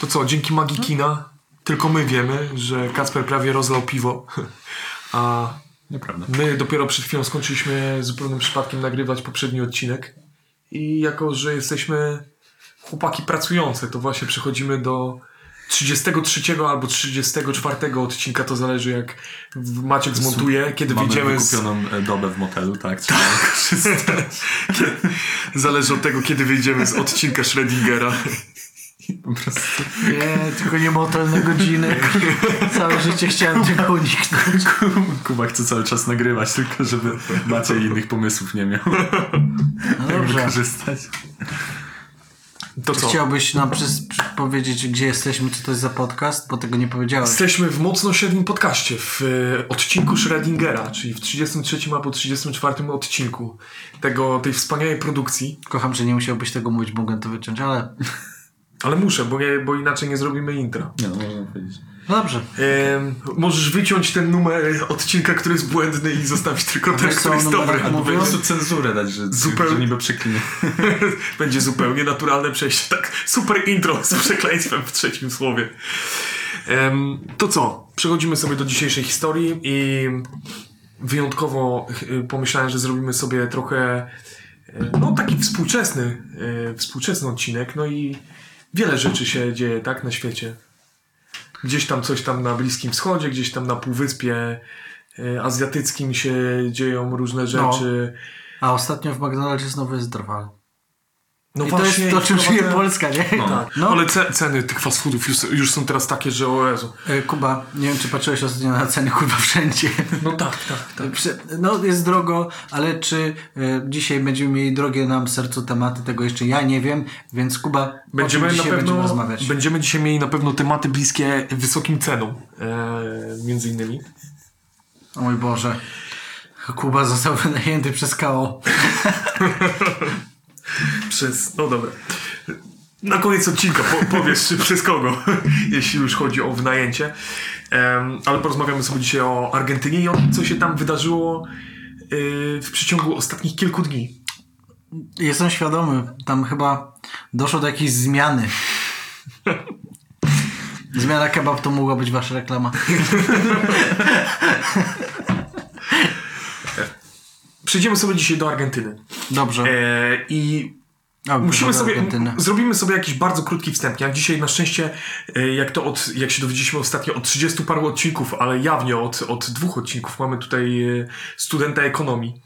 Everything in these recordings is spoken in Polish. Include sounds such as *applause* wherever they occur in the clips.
To co, dzięki magii kina tylko my wiemy, że Kacper prawie rozlał piwo. *laughs* A Nieprawda. my dopiero przed chwilą skończyliśmy zupełnym przypadkiem nagrywać poprzedni odcinek. I jako, że jesteśmy chłopaki pracujące, to właśnie przechodzimy do 33 albo 34 odcinka, to zależy jak w- Maciek zmontuje, kiedy Mamy wyjdziemy z... *laughs* wykupioną e, dobę w motelu, tak? *laughs* tak. Zależy od tego, kiedy wyjdziemy z odcinka Schrödingera. Po prostu Nie, tylko nie motel na godzinę. Całe życie chciałem tego uniknąć. Kuba chce cały czas nagrywać, tylko żeby Maciej innych pomysłów nie miał. No dobrze. Korzystać. To co? Chciałbyś nam przez, przy- powiedzieć, gdzie jesteśmy, co to jest za podcast? Bo tego nie powiedziałeś. Jesteśmy w mocno średnim podcaście, w e, odcinku Schrödingera, czyli w 33 albo 34 odcinku tego, tej wspaniałej produkcji. Kocham, że nie musiałbyś tego mówić, mogę to wyciąć, ale Ale muszę, bo, nie, bo inaczej nie zrobimy intra. Nie, no, można powiedzieć. no dobrze. E, możesz wyciąć ten numer odcinka, który jest błędny i zostawić tylko ten, wiesz, co który o jest numerach dobry. mówię? Albo po prostu cenzurę dać, że, Zupełnie. że niby przeklinie. *laughs* Będzie zupełnie naturalne przejście. Tak, super intro z przekleństwem w trzecim słowie. Em, to co? Przechodzimy sobie do dzisiejszej historii i wyjątkowo y, pomyślałem, że zrobimy sobie trochę y, no taki współczesny, y, współczesny odcinek. No i wiele rzeczy się dzieje tak na świecie. Gdzieś tam coś tam na Bliskim Wschodzie, gdzieś tam na Półwyspie y, Azjatyckim się dzieją No. różne rzeczy. A ostatnio w McDonaldzie znowu jest drwal. No, I to jest to, czym żyje wprowadzę- Polska, nie? Tak. No. Ale ce- ceny tych fast foodów już, już są teraz takie, że o Jezu. E, Kuba, nie wiem, czy patrzyłeś ostatnio na ceny, kurwa, wszędzie. No tak, tak, tak. Prze- No, jest drogo, ale czy e, dzisiaj będziemy mieli drogie nam sercu tematy, tego jeszcze ja nie wiem, więc Kuba, o Będziemy czym na dzisiaj będziemy pewno rozmawiać? będziemy dzisiaj mieli na pewno tematy bliskie wysokim cenom, e, między innymi. O mój Boże. Kuba został *laughs* wynajęty przez KO. Przez. No dobra. Na koniec odcinka po, powiesz *laughs* czy przez kogo, jeśli już chodzi o wynajęcie. Em, ale porozmawiamy sobie dzisiaj o Argentynie i o tym, co się tam wydarzyło y, w przeciągu ostatnich kilku dni. Jestem świadomy, tam chyba doszło do jakiejś zmiany. *laughs* Zmiana kebab to mogła być wasza reklama. Przejdziemy sobie dzisiaj do Argentyny. Dobrze. E, I O, Musimy Boże, sobie, Argentynę. m- zrobimy sobie jakiś bardzo krótki wstęp. Jak dzisiaj na szczęście, e, jak to od, jak się dowiedzieliśmy ostatnio, od 30 paru odcinków, ale jawnie od, od dwóch odcinków mamy tutaj e, studenta ekonomii,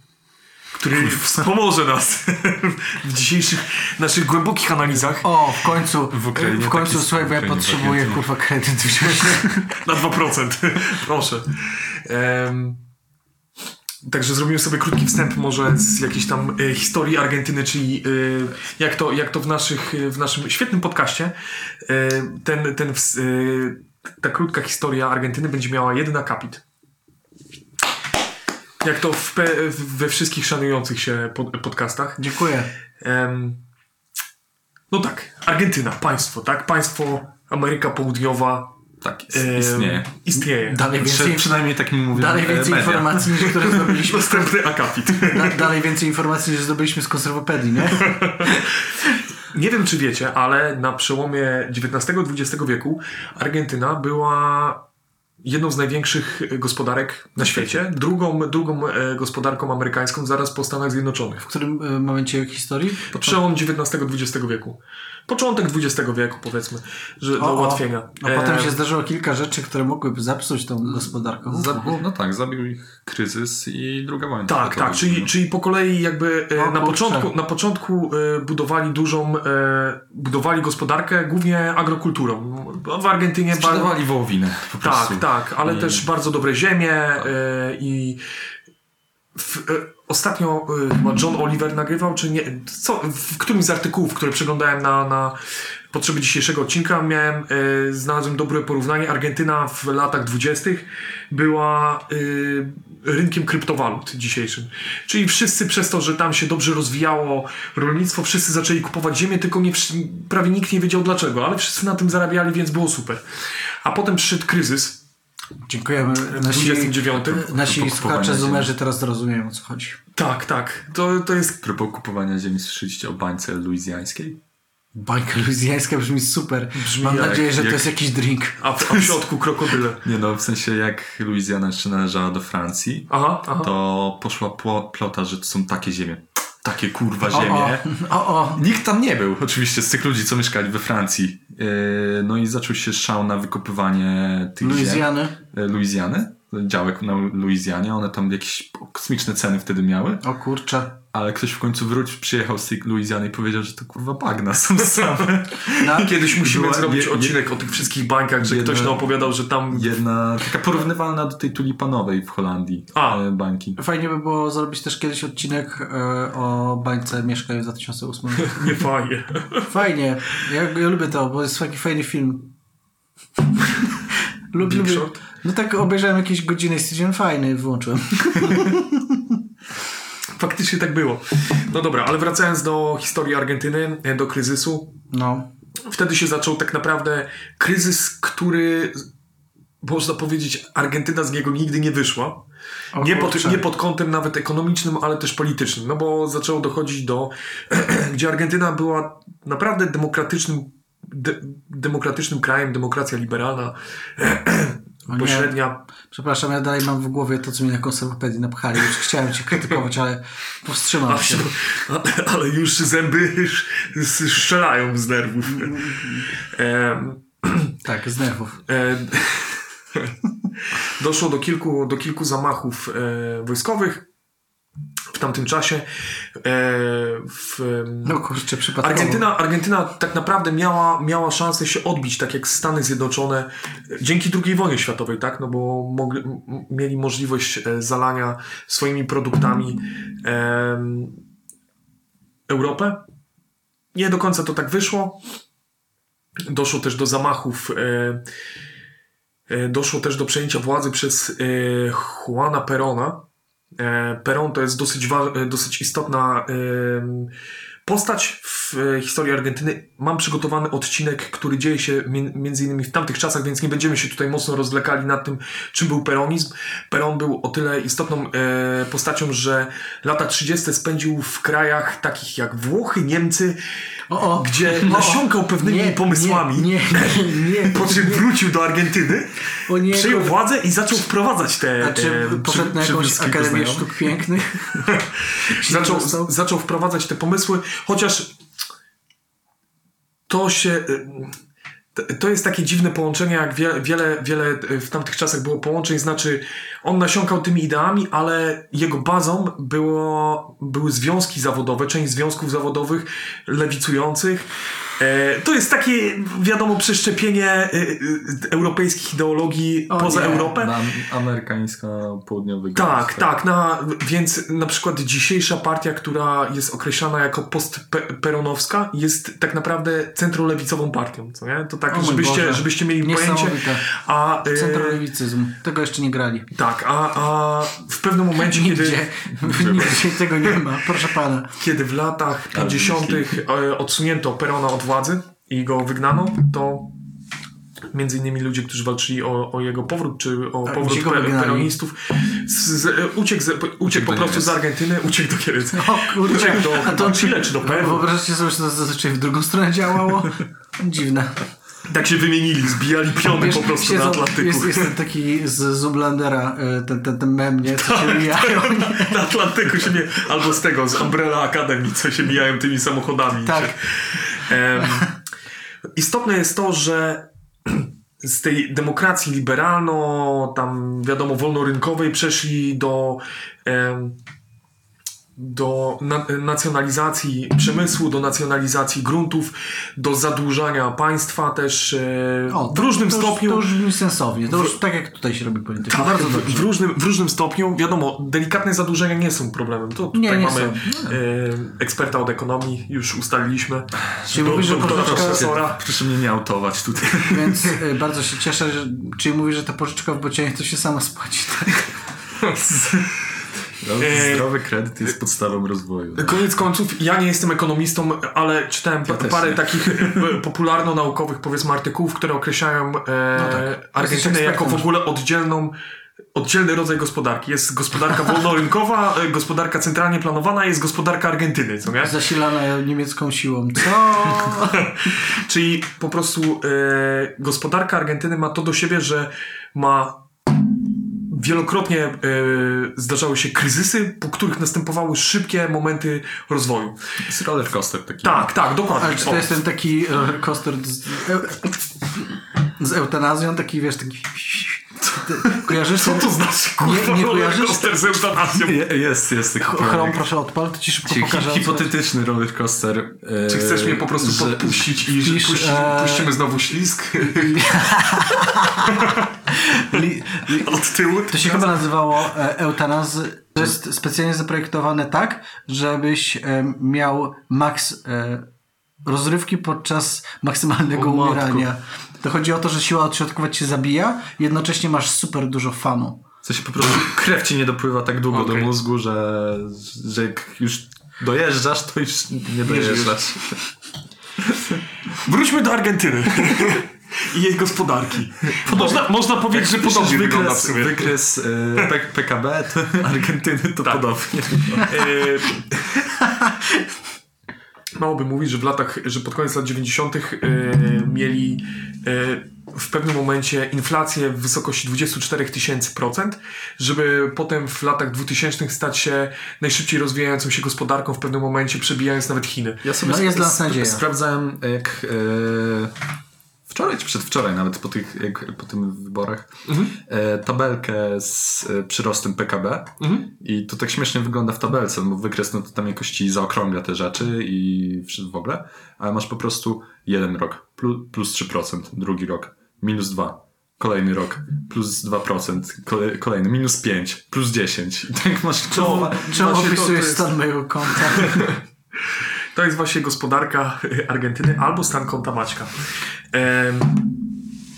który wspomoże nas *laughs* w dzisiejszych naszych głębokich analizach O, w końcu, e, w, Ukrainie końcu, taki słuchaj, bo ja Ukrainie potrzebuję, wariant. kurwa, kredyt wziąć. na 2%. *laughs* Proszę. Em, Także zrobimy sobie krótki wstęp może z jakiejś tam e, historii Argentyny, czyli e, jak to, jak to w, naszych, e, w naszym świetnym podcaście e, ten, ten, ws- e, ta krótka historia Argentyny będzie miała jeden akapit. Jak to w, pe- w- we wszystkich szanujących się pod, podcastach. Dziękuję. Em, no tak, Argentyna, państwo, tak? Państwo Ameryka Południowa. Tak, is- em, istnieje. Istnieje. Dalej Prze- więcej, przynajmniej tak mi mówią dalej e, więcej media. informacji niż które zrobiliśmy. Następny akapit. Da, dalej więcej informacji niż zdobyliśmy z konserwopedii, nie? Nie wiem, czy wiecie, ale na przełomie XIX-XX wieku Argentyna była jedną z największych gospodarek na świecie, drugą, drugą e, gospodarką amerykańską zaraz po Stanach Zjednoczonych. W którym e, momencie historii? Przełom XIX-XX wieku. Początek XX wieku, powiedzmy, że O, do o. ułatwienia. E, A potem Em, się zdarzyło kilka rzeczy, które mogłyby zepsuć tą gospodarkę. Zabił, no tak, zabił ich kryzys i druga wojna. Tak, światowa. tak, czyli, czyli po kolei jakby e, no. O na kurczę. początku, na początku e, budowali dużą, e, budowali gospodarkę głównie agrokulturą. W Argentynie bardzo, Sprzedawali wołowinę po prostu. tak, tak, ale I- też bardzo dobre ziemie e, i w, e, ostatnio e, chyba John Oliver nagrywał, czy nie, co, w którymś z artykułów, które przeglądałem na, na potrzeby dzisiejszego odcinka, miałem, e, znalazłem dobre porównanie. Argentyna w latach dwudziestych była e, rynkiem kryptowalut dzisiejszym. Czyli wszyscy przez to, że tam się dobrze rozwijało rolnictwo, wszyscy zaczęli kupować ziemię, tylko nie, wsz- prawie nikt nie wiedział dlaczego, ale wszyscy na tym zarabiali, więc było super. A potem przyszedł kryzys, Dziękujemy. w Nasi, 29. nasi Kupowanie słuchacze ziemi. zumerzy teraz rozumieją o co chodzi. Tak, tak. To, to jest. Propos kupowania ziemi, słyszeliście o bańce luizjańskiej? Bajka luizjańska brzmi super. Brzmi Mam jak- nadzieję, że jak- to jest jakiś drink. A w, a w środku krokodyle. Nie no, w sensie jak Luizjana jeszcze należała do Francji, Aha, aha. to poszła pło- plota, że to są takie ziemie. Takie kurwa O, o, ziemie. o, o. Nikt tam nie był, oczywiście, z tych ludzi, co mieszkali we Francji. Yy, No i zaczął się szał na wykopywanie tych ziem. Luizjany. e, Luizjany, działek na Luizjanie. One tam jakieś kosmiczne ceny wtedy miały, O kurczę. ale ktoś w końcu wrócił, przyjechał z tej Luizjany i powiedział, że to kurwa *laughs* bagna są same. Na, Kiedyś musimy Była- zrobić je- je- odcinek o tych wszystkich bańkach, że Jedna- ktoś nam opowiadał, że tam... Jedna taka porównywalna do tej tulipanowej w Holandii A. e, bańki. fajnie by było zrobić też kiedyś odcinek e, o bańce Mieszkaj w *laughs* 2008. Nie fajnie. Fajnie. Ja, ja lubię to, bo jest taki fajny film. *laughs* Lub, Big lubię. Short? No tak obejrzałem jakieś godziny i stwierdziłem fajny, wyłączyłem. Faktycznie tak było. No dobra, ale wracając do historii Argentyny, e, do kryzysu. No. Wtedy się zaczął tak naprawdę kryzys, który można powiedzieć, Argentyna z niego nigdy nie wyszła. O Nie pod, kurczę. nie pod kątem nawet ekonomicznym, ale też politycznym, no bo zaczęło dochodzić do, *clears throat* gdzie Argentyna była naprawdę demokratycznym, de, demokratycznym krajem, demokracja liberalna, *clears throat* nie. pośrednia. Przepraszam, ja dalej mam w głowie to, co mi na konserwopedii napchali. Już chciałem cię krytykować, ale powstrzymam się. Ale- *clears throat* Ale już zęby sz- sz- strzelają z nerwów. Em, Tak, z nerwów. E, *laughs* doszło do kilku, do kilku zamachów e, wojskowych w tamtym czasie. E, w, No kurczę, przypadkowo. Argentyna, Argentyna tak naprawdę miała, miała szansę się odbić, tak jak Stany Zjednoczone, e, dzięki II wojnie światowej, tak? No bo mogli, m- mieli możliwość e, zalania swoimi produktami em, Europę. Nie do końca to tak wyszło. Doszło też do zamachów, e, e, doszło też do przejęcia władzy przez e, Juana Perona. E, Peron to jest dosyć, wa- e, dosyć istotna em, postać w e, historii Argentyny. Mam przygotowany odcinek, który dzieje się mi- między innymi w tamtych czasach, więc nie będziemy się tutaj mocno rozlekali nad tym, czym był peronizm. Peron był o tyle istotną e, postacią, że lata 30. spędził w krajach takich jak Włochy, Niemcy, O, o. *laughs* gdzie o, o. nasiąkał pewnymi Nie, pomysłami. Nie, nie, *laughs* nie. Po czym wrócił do Argentyny, O nie, przejął kur- władzę i zaczął wprowadzać te. A czy e, poszedł na przy- jakąś przywódzkich Akademię znajomych. Sztuk Pięknych? zaczął, Został? zaczął wprowadzać te pomysły, chociaż to się. t- To jest takie dziwne połączenie, jak wie, wiele, wiele y, w tamtych czasach było połączeń, znaczy on nasiąkał tymi ideami, ale jego bazą było, były związki zawodowe, część związków zawodowych lewicujących. E, to jest takie, wiadomo, przeszczepienie e, e, europejskich ideologii O poza nie, no. Europę. Na amerykańska południowego. Tak, tak. Na, więc na przykład dzisiejsza partia, która jest określana jako postperonowska, jest tak naprawdę centrolewicową partią. Co nie? To O tak, mój żebyście, Boże. żebyście mieli pojęcie. Niesamowite. A, e, Centrolewicyzm. Tego jeszcze nie grali. tak, a, a w pewnym momencie, kiedy, *laughs* Nigdzie, *laughs* nigdzie tego nie ma, proszę pana. kiedy w latach 50. e, odsunięto Perona od władzy i go wygnano, to między innymi ludzie, którzy walczyli o, o jego powrót, czy o Tak, powrót gdzie go pe, wygnali? peronistów, z, z, e, uciekł, z, uciekł, Uciekł po do prostu Niemiec. z Argentyny, uciekł do Kielec. *laughs* O kurczę, Uciekł do- do Chile czy do Peru. No, Wyobraźcie sobie, że to zazwyczaj w drugą *laughs* stronę działało. Dziwne. Tak się wymienili, zbijali piony po prostu siedzą- na Atlantyku. Jest, jest ten taki z Zublandera, e, ten, ten, ten mem, nie? Co Tak, się mijają. *laughs* Na Atlantyku się nie... Albo z tego, z Umbrella Academy, co się mijają tymi samochodami. Tak. Em, istotne jest to, że *clears throat* z tej demokracji liberalno, tam wiadomo, wolnorynkowej przeszli do, em, do na, nacjonalizacji przemysłu, do nacjonalizacji gruntów, do zadłużania państwa też e, O, w różnym to już- stopniu. To już brzmi sensownie. To już tak jak tutaj się robi polityka. Tak, Bardzo w, dobrze. w, różnym, w różnym stopniu, wiadomo, delikatne zadłużenia nie są problemem. To tutaj Nie, nie mamy są. e, eksperta od ekonomii, już ustaliliśmy. Czyli mówisz, że doktora pożyczka- profesora. Proszę mnie nie autować tutaj. Więc y, bardzo się cieszę, że, czyli mówisz, że ta pożyczka w bocianie to się sama spłaci. *laughs* Tak? No, Eee. Zdrowy kredyt jest podstawą rozwoju. Koniec końców, ja nie jestem ekonomistą, ale czytałem pa- też parę nie. takich *laughs* e, popularno-naukowych, powiedzmy, artykułów, które określają e, tak. Jesteś Argentynę jako w ekspertem. ogóle oddzielną oddzielny rodzaj gospodarki. Jest gospodarka wolnorynkowa, e, gospodarka centralnie planowana, jest gospodarka Argentyny, co nie? Zasilana niemiecką siłą. Co? Czyli po prostu e, gospodarka Argentyny ma to do siebie, że ma wielokrotnie e, zdarzały się kryzysy, po których następowały szybkie momenty rozwoju. Jest roller coaster taki. Tak, tak, dokładnie. Ale czy to O. jest ten taki roller coaster z, z eutanazją? Taki, wiesz, taki... Kojarzysz Co ten- to znaczy, kurwa, Nie- nie roller kojarzysz? coaster z eutanazją? Je, jest, jest taki Chrom, projekt. proszę odpal, to ci szybko Hi- pokażę. Hipotetyczny roller coaster. e, Czy chcesz mnie po prostu że- podpuścić i że wpisz, puści, e, puścimy znowu ślisk Li- li- od tyłu? To się chyba nazywało e, eutanaz. To jest specjalnie zaprojektowane tak, żebyś e, miał maks e, rozrywki podczas maksymalnego O matko. umierania. To chodzi o to, że siła odśrodkować się zabija, jednocześnie masz super dużo fanu. Co się po prostu krew ci nie dopływa tak długo Okej. do mózgu, że, że jak już dojeżdżasz, to już nie dojeżdżasz. Wróćmy do Argentyny *laughs* i jej gospodarki. Można, można powiedzieć, Tak, że podobnie wygląda w wykres, sumie. wykres e, P- PKB *laughs* to Argentyny to Tak. podobnie. E, Mało by mówić, że w latach, że pod koniec lat 90. e, mieli e, w pewnym momencie inflację w wysokości 24 tysięcy procent, żeby potem w latach 2000 stać się najszybciej rozwijającą się gospodarką, w pewnym momencie przebijając nawet Chiny. Ja No jest sp- dla nas sp- nadzieja. sprawdzałem jak e, wczoraj czy przedwczoraj nawet po, tych, jak, po tym wyborach Mhm. e, tabelkę z e, przyrostem PKB Mhm. i to tak śmiesznie wygląda w tabelce, bo wykres no to tam jakości zaokrągla te rzeczy i wszy- w ogóle, ale masz po prostu jeden rok plus, plus 3%, drugi rok minus 2. Kolejny rok, plus 2%, kole- kolejny, minus 5, plus 10. I *laughs* tak masz Czemu, to, czemu właśnie to- to opisujesz jest- stan mojego konta? To jest właśnie gospodarka *laughs* y, Argentyny albo stan konta Maćka. Em,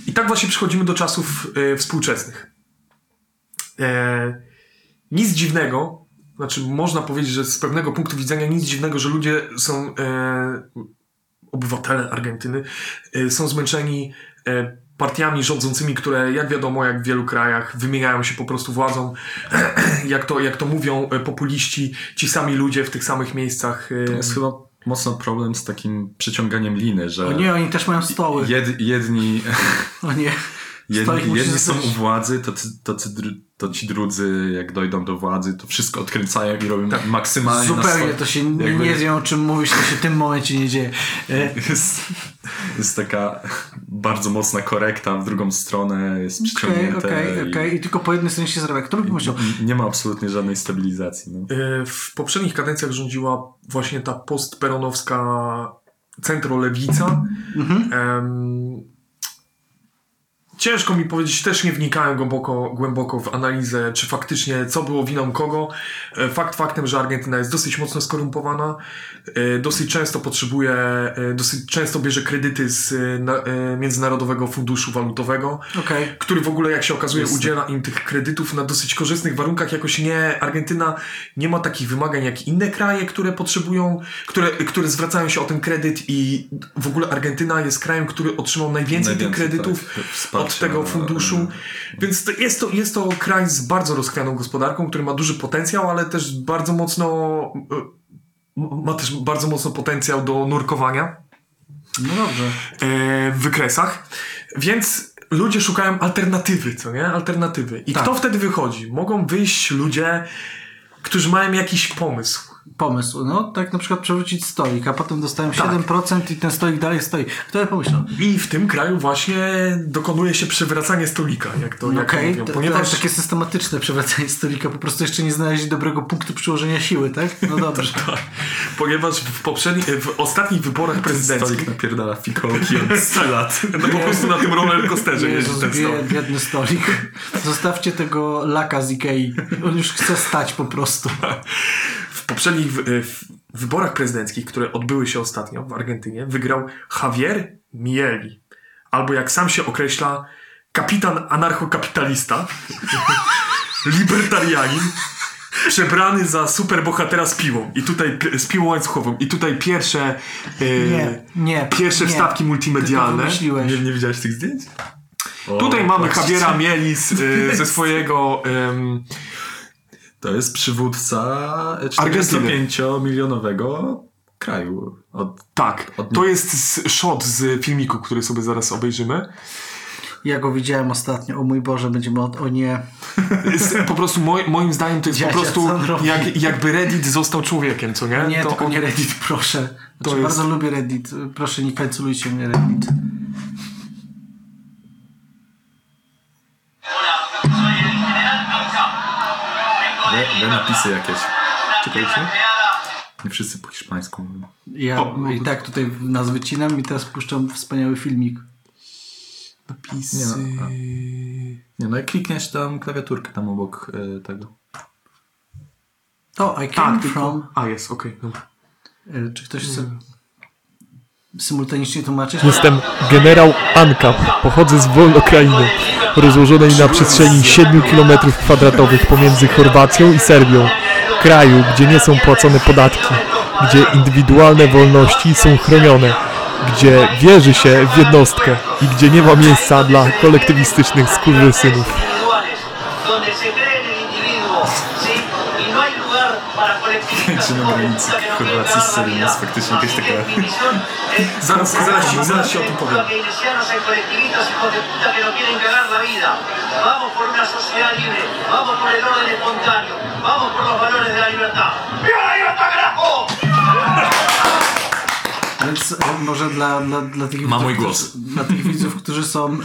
I tak właśnie przechodzimy do czasów y, współczesnych. E, Nic dziwnego, znaczy można powiedzieć, że z pewnego punktu widzenia nic dziwnego, że ludzie są, e, obywatele Argentyny, e, są zmęczeni e, partiami rządzącymi, które jak wiadomo, jak w wielu krajach wymieniają się po prostu władzą, *clears throat* jak to, jak to mówią e, populiści, ci sami ludzie w tych samych miejscach. e, To jest chyba mocno problem z takim przyciąganiem liny, że O nie, oni też mają stoły. jed, *laughs* jedni, O nie. Stolik jedni, musi jedni są zostać- u władzy, to, ci- to, ci dru- to ci drudzy jak dojdą do władzy, to wszystko odkręcają i robią maksymalnie na Tak, Zupełnie swoje- to się nie- jakby- nie wiem, o czym mówisz, to się w tym momencie nie dzieje. E, *laughs* Jest, jest taka bardzo mocna korekta w drugą stronę, jest E, Okej, przyciągnięte okej, i okej. I tylko po jednej stronie się zarabia. Kto by pomyślał? nie ma absolutnie żadnej stabilizacji. No. E, W poprzednich kadencjach rządziła właśnie ta postperonowska centrolewica. Em, Ciężko mi powiedzieć, też nie wnikałem głęboko, głęboko w analizę, czy faktycznie co było winą kogo. E, Fakt faktem, że Argentyna jest dosyć mocno skorumpowana, e, dosyć często potrzebuje, e, dosyć często bierze kredyty z e, na- e, Międzynarodowego Funduszu Walutowego Okej. który w ogóle, jak się okazuje, Jest- udziela im tych kredytów na dosyć korzystnych warunkach. Jakoś nie, Argentyna nie ma takich wymagań jak inne kraje, które potrzebują, które, które zwracają się o ten kredyt i w ogóle Argentyna jest krajem, który otrzymał najwięcej, tych Najwięcej, kredytów tak, od wsparcia, tego funduszu. Więc to jest, to, jest to kraj z bardzo rozchwianą gospodarką, który ma duży potencjał, ale też bardzo mocno, y, ma też bardzo mocno potencjał do nurkowania No dobrze. e, w wykresach, więc ludzie szukają alternatywy, co nie? Alternatywy. I Tak. kto wtedy wychodzi? Mogą wyjść ludzie, którzy mają jakiś pomysł. pomysł. No, tak na przykład przewrócić stolik, a potem dostałem Tak. 7% i ten stolik dalej stoi. Kto by pomyślał? I w tym kraju właśnie dokonuje się przewracanie stolika, jak to, No jak to Okej, mówią. to- Ponieważ to takie systematyczne przewracanie stolika, po prostu jeszcze nie znaleźli dobrego punktu przyłożenia siły, tak? *laughs* No dobrze. Ponieważ w, poprzedni, w ostatnich wyborach prezydenckich Stolik napierdala fikołki *laughs* od 100 lat. no po prostu na tym rollercoasterze jeździ Jezus, ten stolik. bied, biedny stolik. Zostawcie tego laka z Ikei. On już chce stać po prostu. W poprzednich w, w wyborach prezydenckich, które odbyły się ostatnio w Argentynie, wygrał Javier Mieli. Albo jak sam się określa, kapitan anarchokapitalista, *laughs* libertarianin, przebrany za superbohatera z piłą. I tutaj pi- z piłą łańcuchową. I tutaj pierwsze, e, Nie, nie, pierwsze nie. wstawki Ty to multimedialne. wymyśliłeś. Nie, nie widziałeś tych zdjęć? Tutaj mamy patrzcie. Javiera Mielis *laughs* y, ze swojego... ym, To jest przywódca Argentyny. 45-milionowego kraju. Od... tak, Od- to jest s- shot z filmiku, który sobie zaraz obejrzymy. Ja go widziałem ostatnio, o mój Boże, będziemy od... O nie. Jest, po prostu moj, moim zdaniem to jest po Dziadzia, prostu co on robi? jak, jakby Reddit został człowiekiem, co nie? Nie, to tylko on- nie Reddit, proszę. Znaczy, jest- Bardzo lubię Reddit. Proszę, nie kancelujcie mnie Reddit. Hola, soy el general Causa. Le, Vengo de le Lima, napisy jakieś. una tierra creada Nie wszyscy po hiszpańsku mówią. Ja O, i tak tutaj nas wycinam i teraz puszczam wspaniały filmik. Nie Napisy... no, a- Nie no, jak klikniesz tam klawiaturkę tam obok e, tego. To I came Tak, tylko... from... A, jest, okej. dobra. E, Czy ktoś chce Mm. symultanicznie tłumaczyć? Jestem generał Anka. Pochodzę z Wolnokrainy, rozłożonej na przestrzeni 7 km kwadratowych pomiędzy Chorwacją i Serbią. Kraju, gdzie nie są płacone podatki, gdzie indywidualne wolności są chronione, gdzie wierzy się w jednostkę i gdzie nie ma miejsca dla kolektywistycznych skurwysynów. individuales, donde se cree en el individuo, ¿sí? Y no hay lugar para colectivistas *laughs* Czy na con granicy cultura que no Chorwacji tenga z Serbią vida. jest faktycznie No, jakaś mi taka- definición es- Zaraz- zaraz się- zaraz się o tym Cultura powiem. keynesianos en colectivistas, hijos de puta que no quieren cagar la vida. Vamos por una sociedad libre, vamos por el orden espontáneo, vamos por los valores de la libertad. ¡Viva la libertad, carajo! Więc e, może dla, dla, dla tych Ma mój którzy- głos. Dla tych widzów, którzy są. E,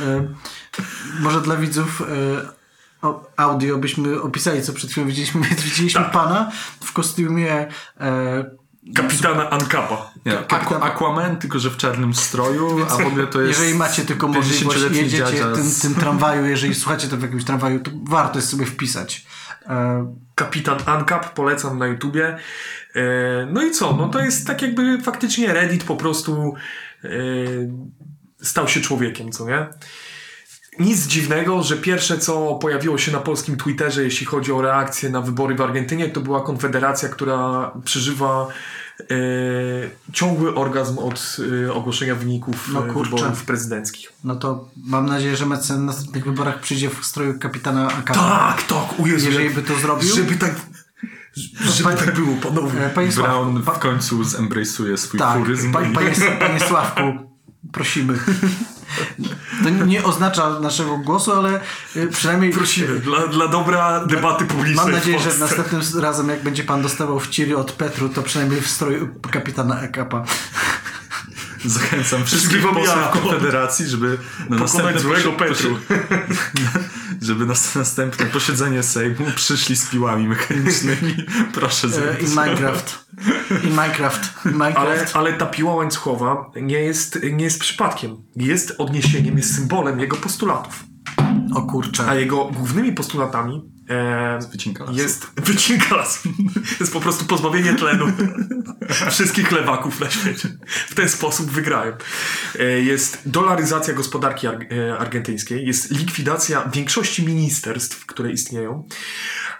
może dla widzów e, o, audio byśmy opisali, co przed chwilą widzieliśmy. Więc widzieliśmy Tak. pana w kostiumie. E, Kapitana Ankapa. Nie, Aqu- Aquaman, tylko że w czarnym stroju, a w ogóle to jest... jeżeli macie tylko możliwość, 50-letni jedziecie dziadzia tym, z- tym tramwaju, jeżeli słuchacie to w jakimś tramwaju, to warto jest sobie wpisać. E, Kapitan Ankap, polecam na YouTubie. E, No i co? No to jest tak jakby faktycznie Reddit po prostu e, stał się człowiekiem, co nie? Nic dziwnego, że pierwsze co pojawiło się na polskim Twitterze, jeśli chodzi o reakcję na wybory w Argentynie, to była konfederacja, która przeżywa e, ciągły orgazm od e, ogłoszenia wyników No e, kurczę. wyborów prezydenckich. no to mam nadzieję, że Mecen na następnych wyborach przyjdzie w stroju kapitana Akapa. Tak, tak, u Jezu, Jeżeli jak- by to zrobił? Żeby tak, żeby tak było, panowie. E, Panie Sławku, Brown w końcu zembrejsuje swój Tak, furyzm. pa, i- panie, panie Sławku, prosimy. To nie oznacza naszego głosu, ale y, przynajmniej Prosimy, dla, dla dobra debaty publicznej. mam nadzieję, w że Polsce. następnym razem, jak będzie pan dostawał w ciry od Petru, to przynajmniej w stroju kapitana Ekapa. Zachęcam wszystkich Wszystkiego posłów miara. Konfederacji, żeby na następne złego posi- Petru. posi- *laughs* żeby na następne posiedzenie Sejmu przyszli z piłami mechanicznymi. *laughs* Proszę E, I zrobić. Minecraft. I Minecraft. I Ale, Minecraft. ale ta piła łańcuchowa nie jest, nie jest przypadkiem. Jest odniesieniem, jest symbolem jego postulatów. O kurczę. A jego głównymi postulatami e, wycinka lasów. jest wycinka lasu. *laughs* jest po prostu pozbawienie *laughs* tlenu wszystkich lewaków na świecie. W ten sposób wygrają. E, jest dolaryzacja gospodarki ar- e, argentyńskiej, jest likwidacja większości ministerstw, które istnieją,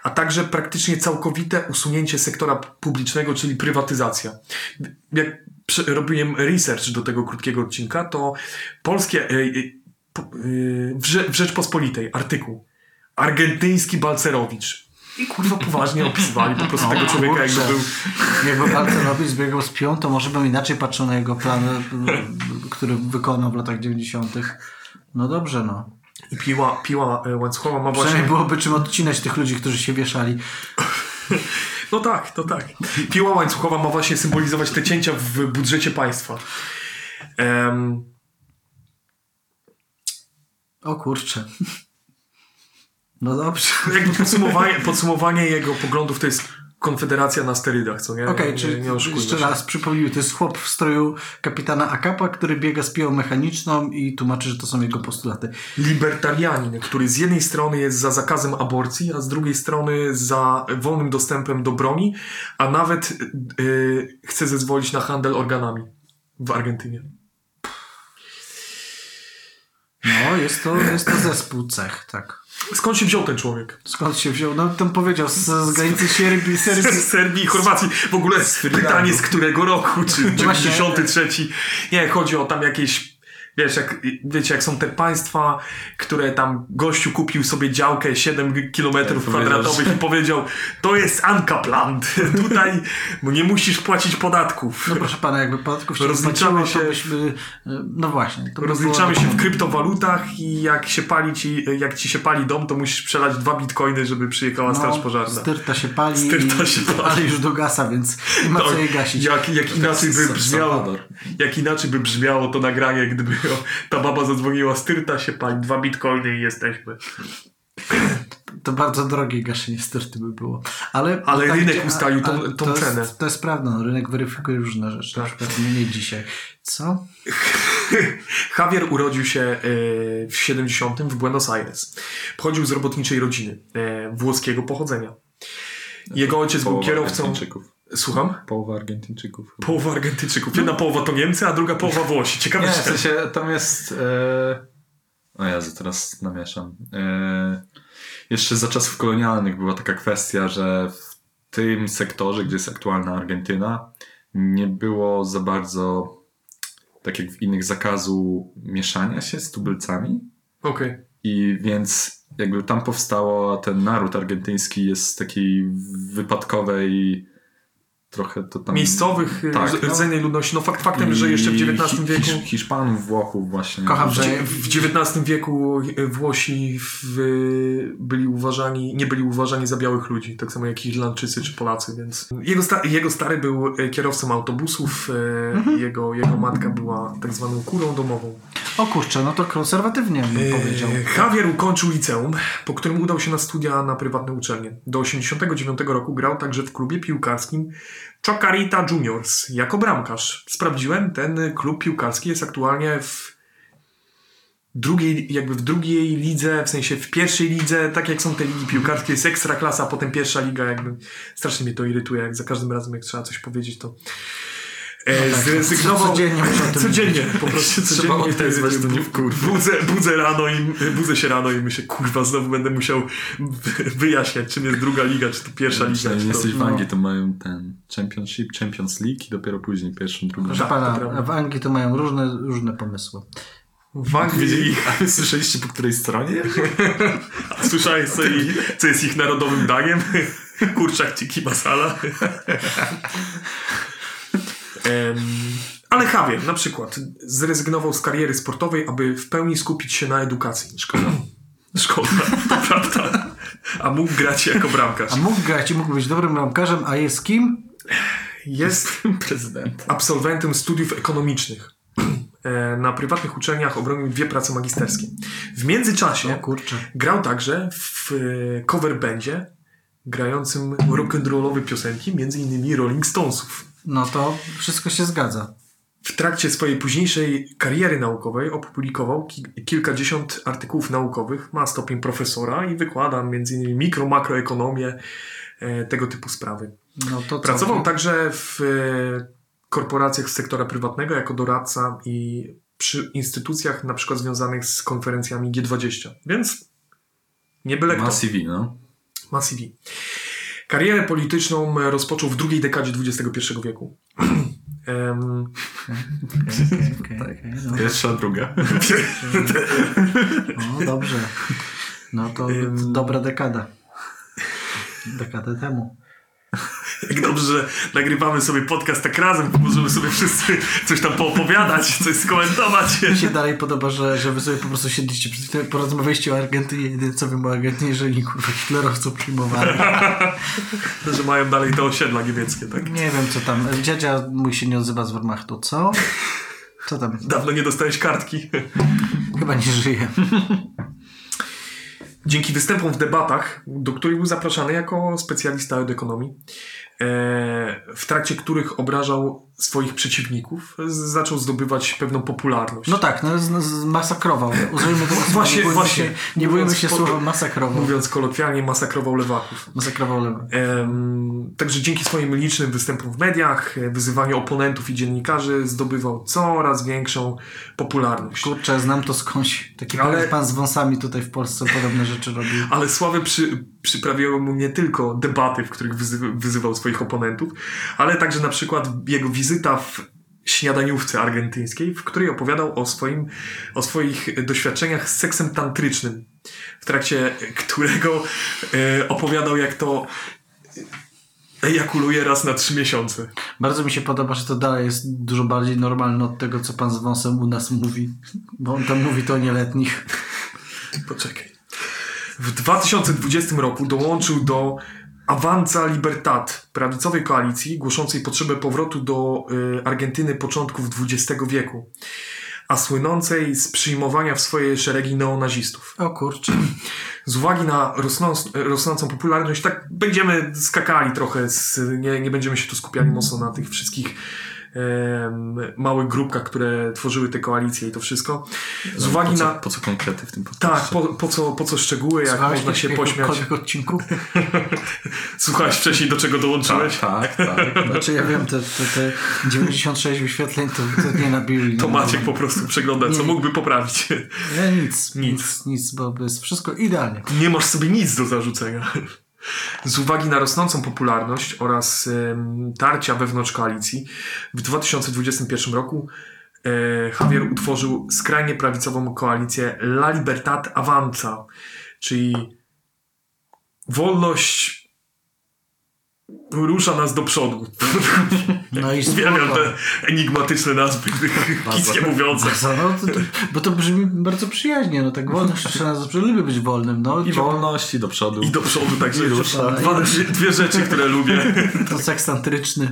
a także praktycznie całkowite usunięcie sektora publicznego, czyli prywatyzacja. Jak prze- robiłem research do tego krótkiego odcinka, to polskie. E, e, po- e, w, Rze- w Rzeczpospolitej artykuł. Argentyński Balcerowicz. I kurwa poważnie opisywali po prostu tego człowieka, jakby No, kurczę. był. Jakby Balcerowicz zbiegał z pią, to może bym inaczej patrzył na jego plan, y, który wykonał w latach 90. No dobrze, no. I piła, piła e, łańcuchowa ma właśnie. Przynajmniej byłoby czym odcinać tych ludzi, którzy się wieszali. No tak, to tak. Piła łańcuchowa ma właśnie symbolizować te cięcia w budżecie państwa. Em, O kurczę. No dobrze. jakby podsumowanie, podsumowanie jego poglądów to jest Konfederacja na sterydach, co nie? Okej, nie, czyli nie oszukujmy jeszcze się. raz przypomnijmy, to jest chłop w stroju kapitana Akapa, który biega z piłą mechaniczną i tłumaczy, że to są jego postulaty. libertarianin, który z jednej strony jest za zakazem aborcji, a z drugiej strony za wolnym dostępem do broni, a nawet yy, chce zezwolić na handel organami w Argentynie. No, jest to, jest to zespół cech, tak. Skąd się wziął ten człowiek? Skąd się wziął? No, ten powiedział, z, z granicy Serbii, Serbii. Z Serbii i Chorwacji. W ogóle No pytanie z którego roku, czy Właśnie. 93. Nie, chodzi o tam jakieś Wiesz, jak, wiecie, jak są te państwa, które tam gościu kupił sobie działkę 7 km powiedział, kwadratowych i powiedział, to jest Ankapland, *laughs* tutaj nie musisz płacić podatków. No proszę pana, jakby podatków się Rozliczamy rozliczamy się. się- To byśmy, e, no właśnie. To by Rozliczamy było- się w kryptowalutach i jak się pali ci, jak ci się pali dom, to musisz przelać dwa bitcoiny, żeby przyjechała No, straż pożarna. Styrta się pali, Styrta i, się pali. ale już dogasa, więc nie ma co No, jej gasić. Jak, jak, inaczej by Sa- brzmiało, Salwador. jak inaczej by brzmiało to nagranie, gdyby o, ta baba zadzwoniła, styrta się pań, dwa bitcoiny i jesteśmy. To bardzo drogie gaszenie styrty by było. Ale, Ale tak, rynek a- ustalił tą- a tą to cenę. Tak. Jest, to jest prawda, no, rynek weryfikuje różne rzeczy, na przykład nie dzisiaj. Co? Javier urodził się e, w 70 w Buenos Aires. Pochodził z robotniczej rodziny e, włoskiego pochodzenia. Jego ojciec był Połowa kierowcą. Argentyńczyków. Słucham? Połowa Argentyńczyków. Połowa Argentyńczyków. Jedna połowa to Niemcy, a druga połowa Włosi. Ciekawe, Nie, w że sensie tam jest. E... O Jezu, teraz namieszam. E... Jeszcze za czasów kolonialnych była taka kwestia, że w tym sektorze, gdzie jest aktualna Argentyna, nie było za bardzo, tak jak w innych, zakazu mieszania się z tubylcami. tak. Okej. I więc jakby tam powstało, ten naród argentyński jest z takiej wypadkowej, trochę to tam... Miejscowych, Tak, tak, no. rdzennej ludności. No fakt faktem, że I jeszcze w XIX Hi- wieku... Hisz- Hiszpanów, Włochów właśnie. Kocham, W że dzie- W XIX wieku Włosi w, byli uważani, nie byli uważani za białych ludzi, tak samo jak Irlandczycy czy Polacy, więc jego, sta, jego stary był e, kierowcą autobusów, e, jego, jego matka była tak zwaną kurą domową. O kurczę, no to konserwatywnie bym powiedział. E, Javier ukończył liceum, po którym udał się na studia na prywatne uczelnie. Do 89 roku grał także w klubie piłkarskim Chacarita Juniors jako bramkarz. Sprawdziłem, ten y, klub piłkarski jest aktualnie w drugiej, jakby w drugiej lidze, w sensie w pierwszej lidze, tak jak są te ligi piłkarskie, jest ekstra klasa, a potem pierwsza liga, jakby strasznie mnie to irytuje, jak za każdym razem jak trzeba coś powiedzieć, to e, zrezygnował. No tak, Codziennie muszę o tym Codziennie, po *laughs* prostu codziennie Trzeba odezwać, wtedy to nie bu- wkurwa. budzę, budzę rano i budzę się rano i myślę, kurwa, znowu będę musiał wyjaśniać, czym jest druga liga, czy to pierwsza liga. Przynajmniej Czy to... jesteś w Anglii, to mają ten Championship, Champions League i dopiero później pierwszą, drugą. Proszę tak, to pana, prawda. w Anglii to mają różne, różne pomysły. W Anglii Wiedzieli, a wy *laughs* słyszeliście po której stronie? słyszałeś, co, *laughs* i- co jest ich narodowym daniem? *laughs* Kurczak tiki masala. Em, Ale Javier na przykład zrezygnował z kariery sportowej, aby w pełni skupić się na edukacji. Szkoda. Szkoda, to prawda. A mógł grać jako bramkarz. A mógł grać i mógł być dobrym ramkarzem, a jest kim? Jest *laughs* Prezydent. absolwentem studiów ekonomicznych. *clears throat* E, Na prywatnych uczelniach obronił dwie prace magisterskie. W O międzyczasie kurczę. grał także w e, cover bandzie grającym rock'n'rollowe piosenki, m.in. Rolling Stonesów. No to wszystko się zgadza. W trakcie swojej późniejszej kariery naukowej opublikował ki- kilkadziesiąt artykułów naukowych, ma stopień profesora i wykłada m.in. mikro, makroekonomię, e, tego typu sprawy. No to co? Pracował także w e, korporacjach z sektora prywatnego jako doradca i przy instytucjach na przykład związanych z konferencjami G20. Więc nie byle kto. Ma CV, no. Ma CV. Karierę polityczną e, rozpoczął w drugiej dekadzie XXI wieku. *clears throat* Em, *laughs* Okej, okej, no. Pierwsza, druga. Tak. No dobrze. No *laughs* to Ym. dobra dekada. Dekadę temu. Jak dobrze, że nagrywamy sobie podcast tak razem, bo możemy sobie wszyscy coś tam poopowiadać, coś skomentować. Mi się dalej podoba, że, że wy sobie po prostu siedliście przed chwilą, porozmawialiście o Argentynie, jedyne co wiem o Argentynie, że oni kurwa hitlerowców przyjmowali. Tak. Że mają dalej te osiedla niemieckie, tak? Nie wiem co tam, dziadzia mój się nie odzywa z Wehrmachtu, co? Co tam? Dawno nie dostałeś kartki. Chyba nie żyje. Dzięki występom w debatach, do których był zapraszany jako specjalista od ekonomii, e, w trakcie których obrażał swoich przeciwników, z- zaczął zdobywać pewną popularność. No tak, no, z- z- masakrował. Użyjmy tego słowa, *laughs* Właśnie, nie bójmy właśnie. Się, nie bójmy Mówiąc się po- słowa masakrował. Mówiąc kolokwialnie, masakrował lewaków. Masakrował lewy. Em, Także dzięki swoim licznym występom w mediach, e, wyzywaniu oponentów i dziennikarzy zdobywał coraz większą popularność. Kurczę, znam to skądś. Taki Ale- pan z wąsami tutaj w Polsce podobne rzeczy robił. Ale sławę przy, przyprawiały mu nie tylko debaty, w których wyzy, wyzywał swoich oponentów, ale także na przykład jego wizyta w śniadaniówce argentyńskiej, w której opowiadał o, swoim, o swoich doświadczeniach z seksem tantrycznym, w trakcie którego e, opowiadał, jak to ejakuluje raz na trzy miesiące. Bardzo mi się podoba, że to dalej jest dużo bardziej normalne od tego, co pan z wąsem u nas mówi. Bo on tam mówi to o nieletnich. Poczekaj. W 2020 roku dołączył do Avanza Libertad, prawicowej koalicji głoszącej potrzebę powrotu do y, Argentyny początków XX wieku, a słynącej z przyjmowania w swoje szeregi neonazistów. O kurczę. Z uwagi na rosnąc, rosnącą popularność, tak będziemy skakali trochę, z, nie, nie będziemy się tu skupiali mocno na tych wszystkich em, małych grupkach, które tworzyły te koalicje i to wszystko. Z uwagi No po co, na... Po co konkrety w tym podcaście? Tak, po, po, co, po co szczegóły, jak Słuchałeś można *laughs* się jakiegokolwiek pośmiać. odcinku? Słuchałeś wcześniej, do czego dołączyłeś? Tak, tak. *laughs* Znaczy ja wiem, te, te, te 96 wyświetleń to, to nie nabili. To nie Maciek po prostu przegląda, co Nie. mógłby poprawić. Ja nic, nic, Nic. nic, bo jest wszystko idealnie. Nie masz sobie nic do zarzucenia. Z uwagi na rosnącą popularność oraz em, tarcia wewnątrz koalicji, w 2021 roku e, Javier utworzył skrajnie prawicową koalicję La Libertad Avanza, czyli wolność rusza nas do przodu. No i Uwielbiam spoko. te enigmatyczne nazwy, *laughs* kiskie mówiące. Co, No, to, bo to brzmi bardzo przyjaźnie, no tak *laughs* wolność trzeba nas zawsze lubię być wolnym, no I wolności do przodu. I do przodu także I już. rusza. Dwa, dwie rzeczy, które lubię. to seks tantryczny.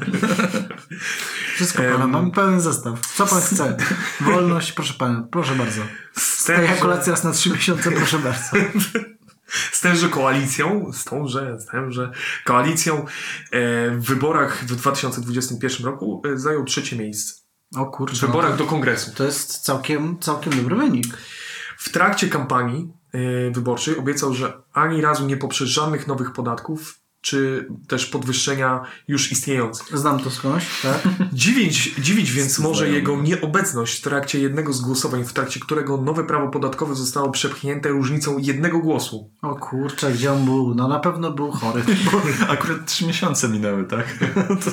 Wszystko Em. pana, mamy E, pełen zestaw. Co pan chce? Wolność, proszę pana, proszę bardzo. Z Ejakulacja raz na trzy miesiące, proszę bardzo. z tęże koalicją, z tąże, z tęże koalicją e, w wyborach w 2021 roku e, zajął trzecie miejsce. O W kurczę, no wyborach to, do kongresu. to jest całkiem, całkiem dobry wynik. W trakcie kampanii e, wyborczej obiecał, że ani razu nie poprze żadnych nowych podatków, czy też podwyższenia już istniejących. Znam to skądś, tak? Dziwić, dziwić więc może Znajomy. jego nieobecność w trakcie jednego z głosowań, w trakcie którego nowe prawo podatkowe zostało przepchnięte różnicą jednego głosu. O kurczę, gdzie on był? No na pewno był chory. *laughs* Akurat trzy miesiące minęły, tak? To,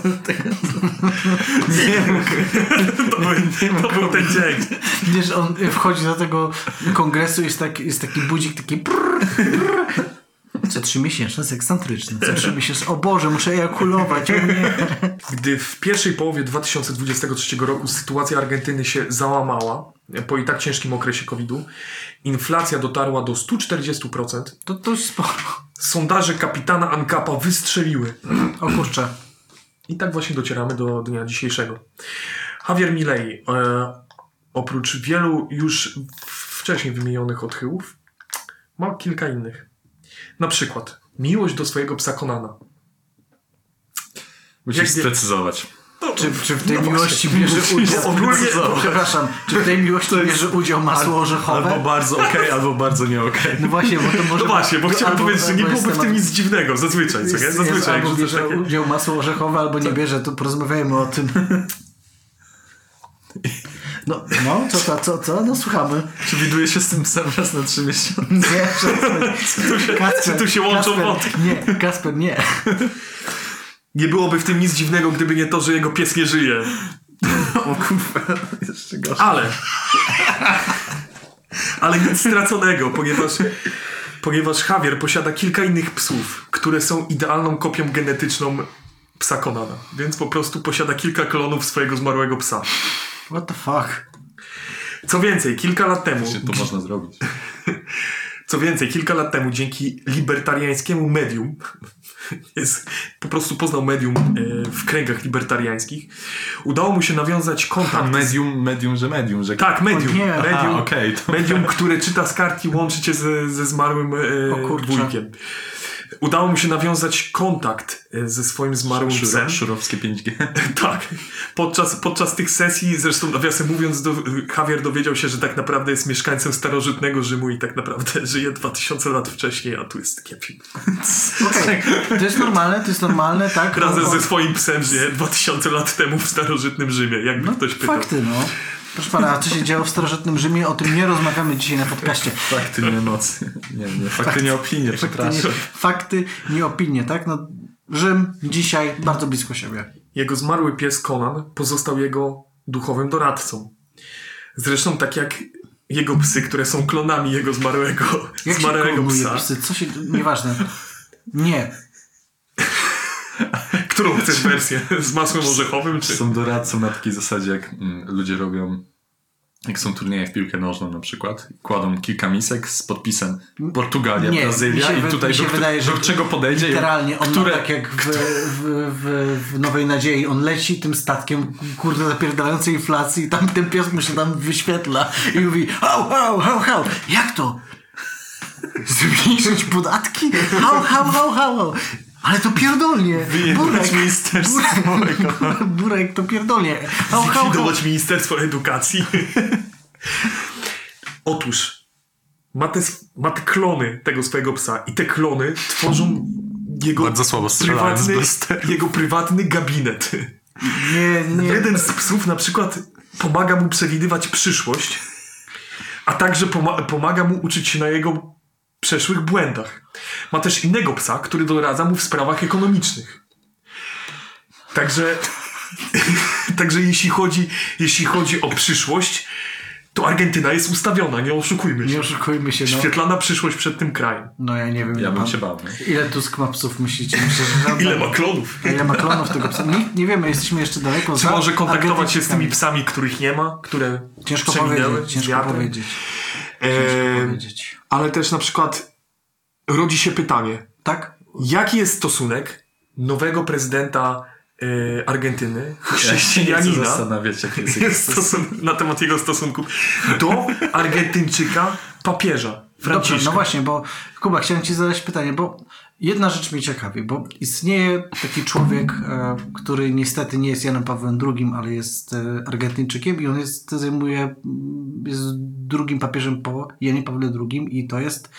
nie mógł. *laughs* To był, to był ten dzień. Wiesz, on wchodzi do tego kongresu, jest, tak, jest taki budzik, taki prrr, prrr. Co trzy miesięczne, seksantryczny. Co trzy miesięczne, o Boże, muszę ejakulować. O nie. Gdy w pierwszej połowie 2023 roku sytuacja Argentyny się załamała, po i tak ciężkim okresie COVID-u, inflacja dotarła do 140%, To dość sporo. sondaże kapitana Ancapa wystrzeliły. *clears throat* O kurczę. I tak właśnie docieramy do dnia dzisiejszego. Javier Milei, e, oprócz wielu już wcześniej wymienionych odchyłów, ma kilka innych. Na przykład miłość do swojego psa Konana. Musisz Jak nie- sprecyzować. Czy, czy w No tej miłości bierze udział... Ogólnie- Przepraszam, czy w tej miłości bierze udział masło Albo orzechowe? bardzo *laughs* okej, albo bardzo nie okej. No właśnie, bo to może... No właśnie, bo chciałem albo- powiedzieć, że nie albo jest byłoby w tym temat- nic dziwnego, zazwyczaj, co nie? Jest, jest, Zazwyczaj, albo jak rzucasz bierze takie... Tak. udział masło orzechowe, albo nie bierze, to porozmawiajmy o *laughs* tym. No, no co, co, co, co? No słuchamy. Czy widuje się z tym psem raz na trzy miesiące? *laughs* Nie, przestań. *laughs* Kasper, czy tu się łączą Kasper, wątki? Nie, Kasper, nie. Nie byłoby w tym nic dziwnego, gdyby nie to, że jego pies nie żyje. *laughs* O kurwa, jeszcze gorzej. Ale. Ale nic straconego, ponieważ. Ponieważ Javier posiada kilka innych psów, które są idealną kopią genetyczną psa Konana. Więc po prostu posiada kilka klonów swojego zmarłego psa. What the fuck? Co więcej, kilka lat temu. To można zrobić. Co więcej, kilka lat temu dzięki libertariańskiemu medium, *laughs* jest, po prostu poznał medium e, w kręgach libertariańskich, udało mu się nawiązać A kontakt. medium, medium, że medium, że... Tak, medium. O nie. medium A, okej, to... Medium, które czyta z kartki, łączy cię ze, ze zmarłym O e, kurczę. wujkiem. Udało mu się nawiązać kontakt e, ze swoim zmarłym psem. Szuro- Szurowskie 5G. *laughs* Tak. Podczas, podczas tych sesji, zresztą nawiasem mówiąc, do, Javier dowiedział się, że tak naprawdę jest mieszkańcem starożytnego Rzymu i tak naprawdę *laughs* żyje 2000 lat wcześniej, a tu jest kiepik. *laughs* Okej, to jest normalne, to jest normalne, tak? Razem No, ze swoim psem żyje 2000 lat temu w starożytnym Rzymie, jakby no, ktoś pytał. Fakty, no. Proszę pana, co się działo w starożytnym Rzymie, o tym nie rozmawiamy dzisiaj na podcaście. Fakty, Tak, nie emocje. Nie, nie, fakty, nie opinie, Fakty nie, przepraszam. fakty, nie opinie, tak? No, Rzym dzisiaj bardzo blisko siebie. Jego zmarły pies Conan pozostał jego duchowym doradcą. Zresztą tak jak jego psy, które są klonami jego zmarłego, Jak się zmarłego klonuje psa. psy? Co się... Nieważne. Nie. Którą chcesz wersję? Z masłem orzechowym czy... Są doradcą na takiej zasadzie, jak mm, ludzie robią, jak są turnieje w piłkę nożną na przykład, kładą kilka misek z podpisem Portugalia, Nie, Brazylia mi się i wy- tutaj mi się do, wydaje, że do czego podejdzie. i Literalnie, on które, ma tak jak w, w, w, w Nowej Nadziei, on leci tym statkiem, kurde, zapierdalającej inflacji i tam ten pies mu się tam wyświetla i mówi, hał, hał, hał, hał, jak to? Zmniejszyć podatki? Hał, hał, hał, hał, hał. Ale to pierdolnie. Burek, Wyjebać ministerstwo mojego. *laughs* burek to pierdolnie. Hał, hał, hał. Zlikwidować Ministerstwo Edukacji. *laughs* Otóż ma te, ma te klony tego swojego psa i te klony tworzą jego, Bardzo słabo strzelałem z prywatny, blasterów. jego prywatny gabinet. Nie, nie. Jeden z psów na przykład pomaga mu przewidywać przyszłość, a także poma- pomaga mu uczyć się na jego przeszłych błędach. Ma też innego psa, który doradza mu w sprawach ekonomicznych. Także, *laughs* także jeśli, chodzi, jeśli chodzi o przyszłość, to Argentyna jest ustawiona, nie oszukujmy Nie się. oszukujmy się, no. Świetlana przyszłość przed tym krajem. No ja nie wiem. Ja bym pan- się bał. nie? Ile Tusk ma psów, myślicie? Myślę, że żaden. Ile ma klonów? A Ile ma klonów tego psa? Nie, nie wiemy, jesteśmy jeszcze daleko Czy za może kontaktować się z tymi Argentynkami. psami, których nie ma, które Ciężko przeminęły powiedzieć, z ciężko wiatrem? powiedzieć. Eee, powiedzieć. ale też na przykład rodzi się pytanie, Tak? jaki jest stosunek nowego prezydenta e, Argentyny, Ja się nie chcę chrześcijanina, zastanawiać, jak *laughs* jest jego jest stosun- na temat jego stosunku do Argentyńczyka papieża Dobrze, Franciszka. no właśnie, bo Kuba, chciałem ci zadać pytanie, bo jedna rzecz mnie ciekawi, bo istnieje taki człowiek, e, który niestety nie jest Janem Pawłem II, ale jest e, Argentyńczykiem i on jest, zajmuje, mm, jest drugim papieżem po Janie Pawle II i to jest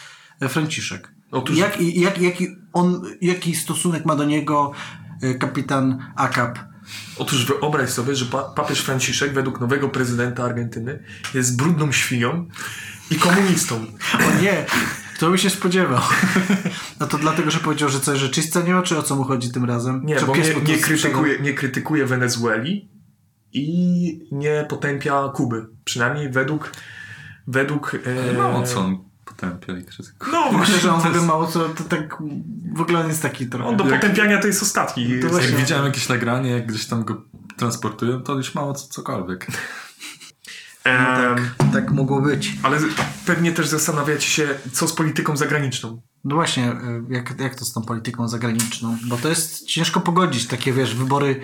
e, Franciszek. Otóż- Jak, i- jak, jaki, on, jaki stosunek ma do niego e, kapitan Akap? Otóż wyobraź sobie, że pa- papież Franciszek według nowego prezydenta Argentyny jest brudną świnią i komunistą. O nie, kto by się spodziewał? *laughs* No to dlatego, że powiedział, że coś rzeczywista nie ma, czy o co mu chodzi tym razem? Nie, Czy bo pies nie, mu to nie, strzegał? krytykuje, nie krytykuje Wenezueli i nie potępia Kuby. Przynajmniej według według e, Mało co Eee. on potępia i krytykuje. No Myślę, właśnie, że on w to ogóle jest, mało co, to tak w ogóle on jest taki on trochę. do jak- potępiania to jest ostatni. To Jak właśnie- widziałem jakieś nagranie, jak gdzieś tam go transportują, to już mało co, cokolwiek. Em, no Tak mogło być. Ale pewnie też zastanawiacie się, co z polityką zagraniczną. No właśnie, y, jak, jak to z tą polityką zagraniczną? Bo to jest ciężko pogodzić takie, wiesz, wybory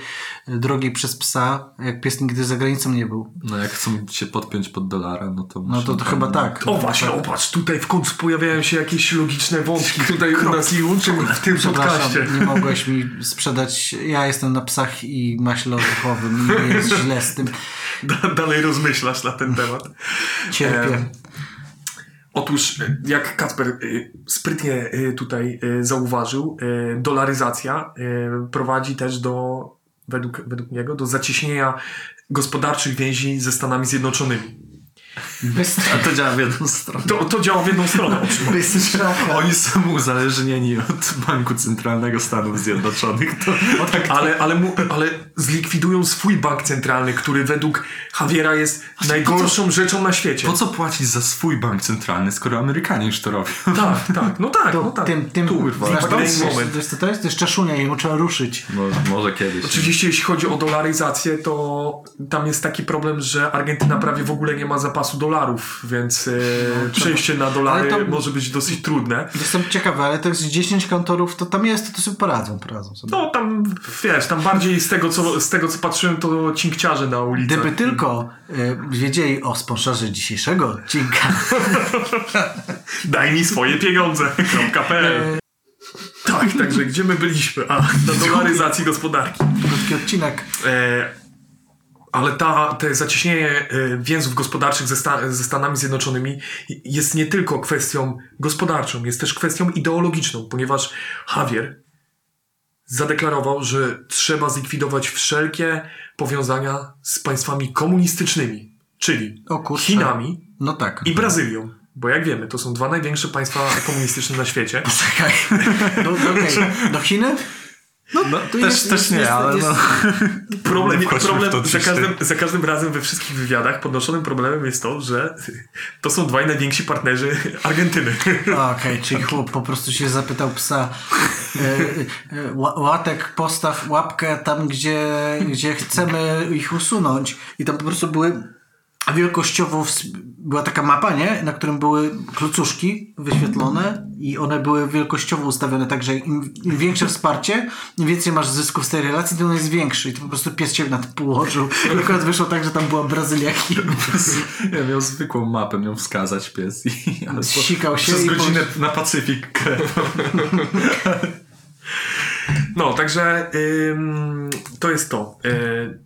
y, drogi przez psa, jak pies nigdy za granicą nie był. No jak chcą się podpiąć pod dolara, no to... No to, to chyba tak. O właśnie, opatrz, tutaj w końcu pojawiają się jakieś logiczne wątki tutaj u nas i u w tym podcaście. Przepraszam, nie mogłeś mi sprzedać. Ja jestem na psach i maśle orzechowym. i Jest źle z tym. Da, dalej rozmyślasz na ten temat. Cierpię. Em, Otóż, e, jak Kacper e, sprytnie e, tutaj e, zauważył, e, dolaryzacja e, prowadzi też do, według, według niego, do zacieśnienia gospodarczych więzi ze Stanami Zjednoczonymi. A to działa w jedną stronę. To, to działa w jedną *laughs* stronę. oczywiście. Bystraka. Oni są uzależnieni od Banku Centralnego Stanów Zjednoczonych. To, Ale, ale, mu, ale zlikwidują swój bank centralny, który według Javiera jest najgorszą rzeczą na świecie. po co płacić za swój bank centralny, skoro Amerykanie już to robią? Tak, tak, no tak, To no tak. tym, tym, Kurwa, znasz taki to? moment. Wiesz co to jest? To jest czaszunia, jemu trzeba ruszyć. Może, może kiedyś. Oczywiście jeśli chodzi o dolaryzację, to tam jest taki problem, że Argentyna prawie w ogóle nie ma zapasu dolarów, więc e, przejście na dolary No, ale to- może być dosyć trudne. Jestem ciekawy, ale to jest 10 kantorów, to tam jest, to sobie poradzą, poradzą sobie. No tam, wiesz, tam bardziej z tego co, z tego, co patrzyłem, to cinkciarze na ulicy. Gdyby Tak. tylko y, wiedzieli o sponsorze dzisiejszego odcinka. *laughs* Daj mi swoje pieniądze. *laughs* kropka E, PL. Tak, także gdzie my byliśmy? A, na dolaryzacji gospodarki. Krótki odcinek. E, ale ta, te zacieśnienie e, więzów gospodarczych ze, sta, ze Stanami Zjednoczonymi jest nie tylko kwestią gospodarczą, jest też kwestią ideologiczną, ponieważ Javier zadeklarował, że trzeba zlikwidować wszelkie powiązania z państwami komunistycznymi, czyli O kurczę. Chinami No tak. i Brazylią. Bo jak wiemy, to są dwa największe państwa komunistyczne na świecie. *laughs* Czekaj. Do, do, okej. do No, Chiny? No, też, jest- też nie, jest- ale jest- no. Problem, Nie wchodźmy w to problem za, też ty. każdym, za każdym razem we wszystkich wywiadach podnoszonym problemem jest to, że to są dwaj najwięksi partnerzy Argentyny. *laughs* Okej, czyli chłop po prostu się zapytał psa e, e, ła- łatek, postaw łapkę tam, gdzie, gdzie chcemy ich usunąć. I tam po prostu były wielkościowo, ws- była taka mapa, nie? Na którym były klucuszki wyświetlone i one były wielkościowo ustawione, także im, im większe wsparcie, im więcej masz zysków z tej relacji, tym on jest większy. I to po prostu pies się na to położył. I akurat wyszło tak, że tam była Brazylia Chin. Ja miał zwykłą mapę, miał wskazać pies i ale Zsikał się przez i godzinę na Pacyfik krew. No, także ym, to jest to. Yy,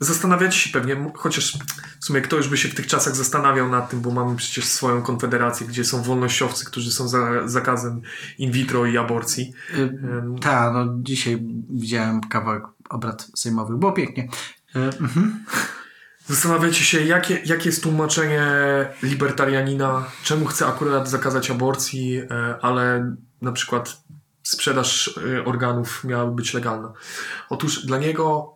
zastanawiacie się pewnie, m- chociaż w sumie kto już by się w tych czasach zastanawiał nad tym, bo mamy przecież swoją konfederację, gdzie są wolnościowcy, którzy są za zakazem in vitro i aborcji. Ym, Tak, no dzisiaj widziałem kawałek obrad sejmowych, było pięknie. E, mhm. Zastanawiacie się, jakie, jakie jest tłumaczenie libertarianina, czemu chce akurat zakazać aborcji, e, ale na przykład sprzedaż e, organów miałaby być legalna. Otóż dla niego,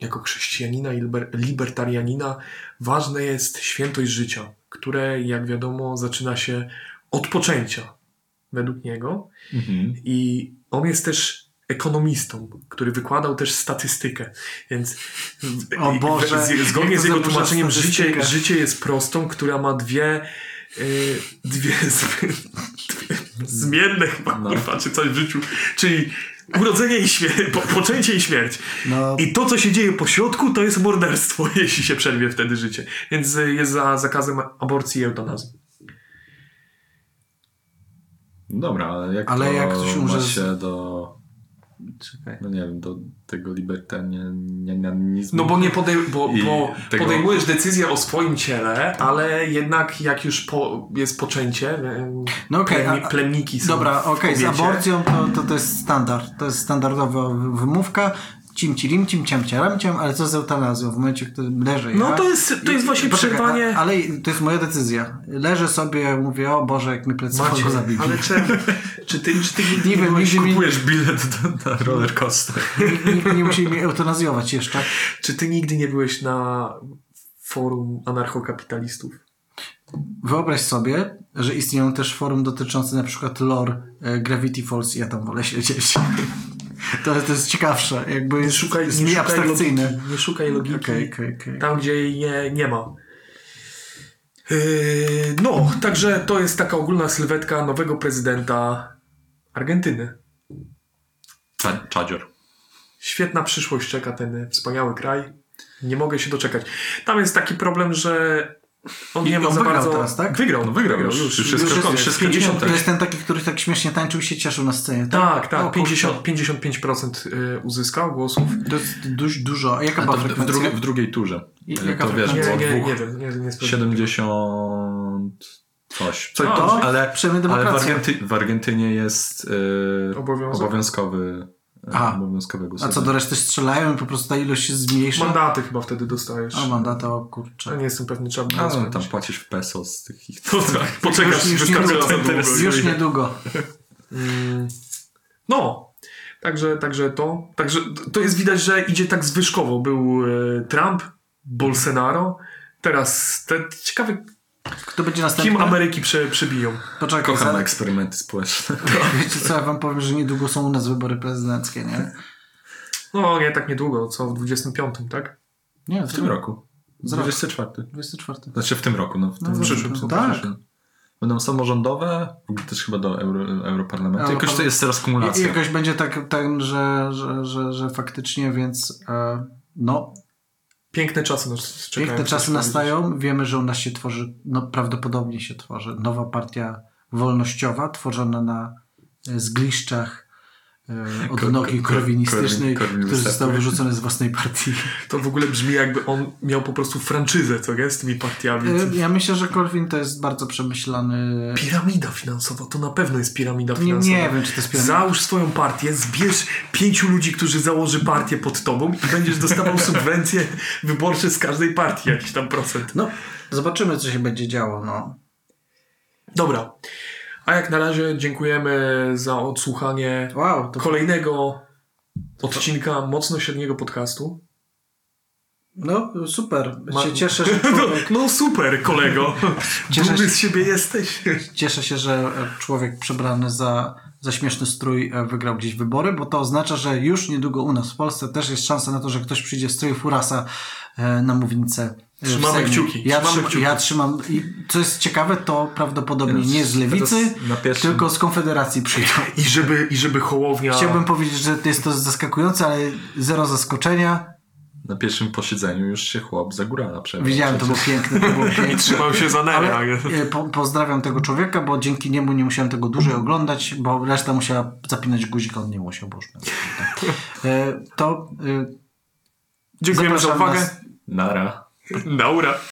jako chrześcijanina i liber, libertarianina, ważne jest świętość życia, które, jak wiadomo, zaczyna się od poczęcia, według niego. Mhm. I on jest też ekonomistą, który wykładał też statystykę. Więc O Boże, z, zgodnie jak z to jego zaburza tłumaczeniem życie, statystykę. życie jest prostą, która ma dwie y, dwie, z, dwie zmienne chyba, No. kurwa, czy coś w życiu, czyli urodzenie i śmierć, po, poczęcie i śmierć. No, I to, co się dzieje po środku, to jest morderstwo, *laughs* jeśli się przerwie wtedy życie. Więc y, jest za zakazem aborcji i eutanazji. Dobra, ale jak Ale to jak ktoś umrze ma z- się do... No nie wiem, do tego libertarianizmu. No bo nie podej- bo, I bo tego- podejmujesz decyzję o swoim ciele, ale jednak jak już po, jest poczęcie, em, No okej, plemni- a- a- plemniki są dobra, w okej, z powiecie. aborcją to, to, to jest standard, to jest standardowa w- wymówka, cim ci rim, cim ciam ciaram ciam, ale co z eutanazją w momencie, kiedy leżę No ja- to jest, to jest właśnie Poczekaj, przerwanie... a- Ale to jest moja decyzja. Leżę sobie, mówię, o Boże, jak mi plecy Macie, zabili. ale czemu? Czy ty, czy *laughs* ty Nie wiem, byłeś- nigdy mi- No. kupujesz- Kupujesz bilet do, na roller coaster. Nikt nie musi mnie eutanazjować jeszcze. *laughs* Czy ty nigdy nie byłeś na forum anarchokapitalistów? Wyobraź sobie, że istnieją też forum dotyczące na przykład lore e, Gravity Falls i ja tam wolę siedzieć. *laughs* To, to jest ciekawsze, jakby Nie jest, szukaj, jest nie mniej szukaj logiki. abstrakcyjne. Nie szukaj logiki. Okej, okej, okej. Tam, gdzie jej nie, nie ma. Yy, no, także to jest taka ogólna sylwetka nowego prezydenta Argentyny. Cza- Czadzior. Świetna przyszłość czeka ten wspaniały kraj. Nie mogę się doczekać. Tam jest taki problem, że on I nie ma on za wygrał bardzo... teraz, tak? Wygrał, No wygrał już. Już jest skakon- jest wszystkie 50 dziesiątki. To jest ten taki, który tak śmiesznie tańczył i się cieszył na scenie. Tak, tak. O, 50, 55% y, uzyskał głosów. kurczę. To jest duż, dużo. A jaka To była w, w, frekwencja? drugiej, w drugiej turze. I- E, jaka To wiesz, Nie, było frekwencja? nie, dwóch... nie wiem. Nie, nie sprawdziłem. 70 coś. Co A, to ale, przejmę ale w, demokrację. Argenty- w Argentynie jest e, Obowiązek. obowiązkowy e, A. obowiązkowe A głosowanie. co do reszty strzelają i po prostu ta ilość się zmniejsza? Mandaty chyba wtedy dostajesz. A mandata, o Ja kurczę. nie jestem pewny, trzeba by A, było no, tam sprawdzić. płacisz w peso z tych ich... To tak, poczekasz, już, już, wystarczy za niedługo, długo. już niedługo. Mm, No, także, także to. Także to jest widać, że idzie tak zwyżkowo. Był e, Trump, Bolsonaro, teraz te, ciekawe, Kto będzie następny? kim Ameryki prze, przebiją. Poczekaj, *laughs* Kocham za, eksperymenty społeczne. *laughs* wiecie co, ja wam powiem, że niedługo są u nas wybory prezydenckie, nie? No nie tak niedługo, co w 25, tak? Nie, W tym roku. Za rok. 24. 24. Znaczy w tym roku, no w tym No, w przyszłym. no, są tak. przyszłym. Będą samorządowe, w ogóle też chyba do euro, Europarlamentu. Ale Jakoś to pan- jest teraz I, kumulacja. jakoś będzie tak, ten, że, że, że, że faktycznie, więc e, no, Piękne czasy nas czekają. piękne chcę czasy powiedzieć. nastają. Wiemy, że u nas się tworzy, no prawdopodobnie się tworzy nowa partia wolnościowa, tworzona na e, zgliszczach e, odnogi ko- korwinistycznej, korwin- korwin który został wystarczy. wyrzucony z własnej *laughs* partii. To w ogóle brzmi jakby on miał po prostu franczyzę, co jest z tymi partiami. E, Ja myślę, że Korwin to jest bardzo przemyślany... Piramida finansowa, to na pewno jest piramida Nie, finansowa. nie wiem, czy to jest piramida. Załóż swoją partię, zbierz pięciu ludzi, którzy założy partię pod tobą i będziesz dostawał *laughs* subwencje wyborcze z każdej partii, jakiś tam procent. No, zobaczymy, co się będzie działo, no. Dobra. A jak na razie dziękujemy za odsłuchanie Wow, to kolejnego odcinka mocno średniego podcastu. No, super. Ma- Się cieszę, *laughs* że *laughs* człowiek, No super, kolego. *laughs* Cieszę Dumny się. z siebie jesteś. cieszę się, że e, człowiek przebrany za, za śmieszny strój e, wygrał gdzieś wybory, bo to oznacza, że już niedługo u nas w Polsce też jest szansa na to, że ktoś przyjdzie w stroju furasa e, na mównicę. e, w Trzymamy Sejmie. kciuki, Ja, trzymamy trzymam, kciuki. ja trzymam. I co jest ciekawe, to prawdopodobnie Teraz- nie z lewicy, teraz na pierwszym- tylko z Konfederacji przyjdą. I żeby, i żeby Hołownia... Chciałbym powiedzieć, że jest to zaskakujące, ale zero zaskoczenia. Na pierwszym posiedzeniu już się chłop za górala przebrał. Widziałem, to było piękne, to było piękne. Trzymał się za nerę. Ale e, po, pozdrawiam tego człowieka, bo dzięki niemu nie musiałem tego dłużej oglądać, bo reszta musiała zapinać guzik, a on nie musiał, bo już e, To e, Dziękujemy za zapraszam uwagę. nas- Nara. Naura.